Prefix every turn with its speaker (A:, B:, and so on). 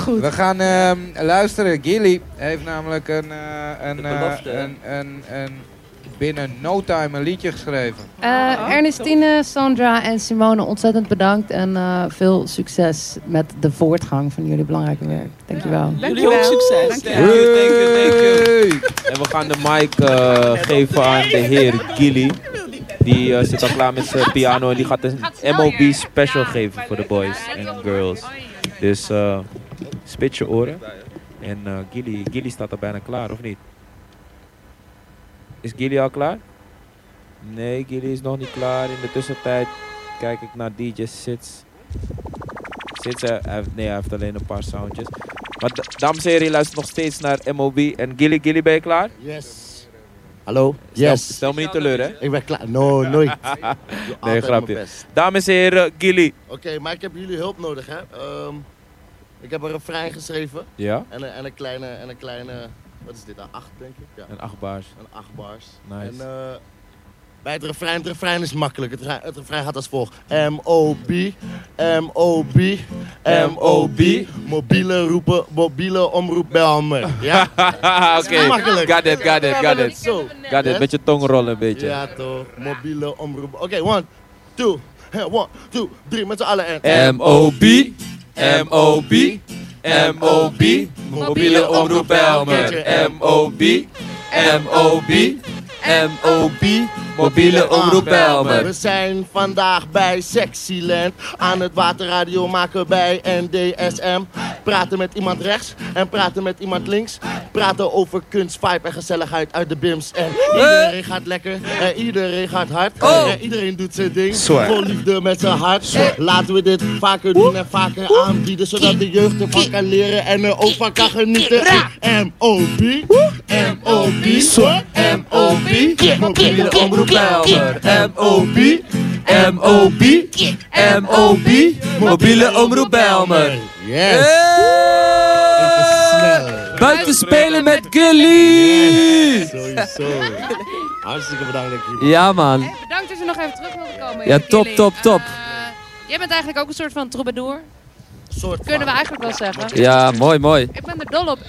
A: goed.
B: We gaan ehm, luisteren. Gilly heeft namelijk een, eh, een,
C: De
B: eh,
C: belofte, hè?
B: een, een, een, binnen no time een liedje geschreven.
A: Ah.
D: Eh, Ernestine, Sandra en Simone, ontzettend bedankt. En eh, veel succes met de voortgang van jullie belangrijke werk. Dankjewel.
C: Jullie ook succes.
A: Dankjewel.
C: Thank you, thank you, thank you.
B: Hey!
C: En we gaan de mic eh, geven aan de heer Gilly. Die eh, zit al klaar met zijn piano en die gaat een MOB special geven voor de boys en girls. Dus eh spit je oren. En eh, Gilly, Gilly staat al bijna klaar, of niet? Is Gilly al klaar? Nee, Gilly is nog niet klaar. In de tussentijd kijk ik naar DJ Sits. Sits, eh, hij heeft- nee, hij heeft alleen een paar soundjes. Maar d- dames en heren, je luistert nog steeds naar MOB. En Gilly, Gilly, ben je klaar?
E: Yes. Hallo?
C: Stel-
E: Yes.
C: Stel me niet teleur, hè?
E: Ik ben klaar. No, nooit. Ik doe altijd
C: grapje.
E: mijn best.
C: Dames en heren, Gilly.
E: Oké, maar ik heb jullie hulp nodig, hè. Ehm, ik heb een refrein geschreven
C: Ja?
E: en een, en een kleine, en een kleine, wat is dit, een acht denk ik? Ja,
C: Een achtbaars.
E: een acht bars.
C: Nice.
E: En eh, bij het refrein, het refrein is makkelijk. Het, refrein- het refrein gaat als volgt. M-O-B, M-O-B, M-O-B. Mobiele roepen, mobiele omroep bel me. Ja?
C: Haha, Oké,
E: Makkelijk.
C: got it, got it, got it.
E: Zo.
C: Got it, met je tong rollen een beetje.
E: Ja toch, mobiele omroep. Oké, one, two, hè, one, two, drie, met z'n allen en...
C: M.O.B. M.O.B. M.O.B. Mobiele omroep Belmer. M.O.B. M.O.B. M.O.B. Mobiele omroep
E: We
C: Belmer.
E: zijn vandaag bij Sexyland. Aan het waterradio maken bij NDSM. Praten met iemand rechts en praten met iemand links. Praten over kunst, vibe en gezelligheid uit de bims. En iedereen gaat lekker en iedereen gaat hard.
C: Oh.
E: En iedereen doet zijn ding. Vol liefde met zijn hart. Laten we dit vaker doen en vaker aanbieden. Zodat de jeugd ervan kan leren en er ook van kan genieten. M.O.B. M.O.B. M.O.B. Mobiele omroep Belmer. M.O.B.
C: M.O.B. M.O.B. Mobiele omroep Belmer.
E: Yes.
C: Buiten spelen met Gilly!
E: Sowieso. Hartstikke bedankt dat ik hier
C: Ja man.
D: Hey, bedankt dat je nog even terug wilde komen.
C: Ja,
D: Gilly.
C: top, top, top.
D: Eh, jij bent eigenlijk ook een soort van troubadour.
E: Soort
D: Kunnen we
E: van.
D: eigenlijk wel zeggen.
C: Ja, mooi, mooi.
D: Ik ben er dol op.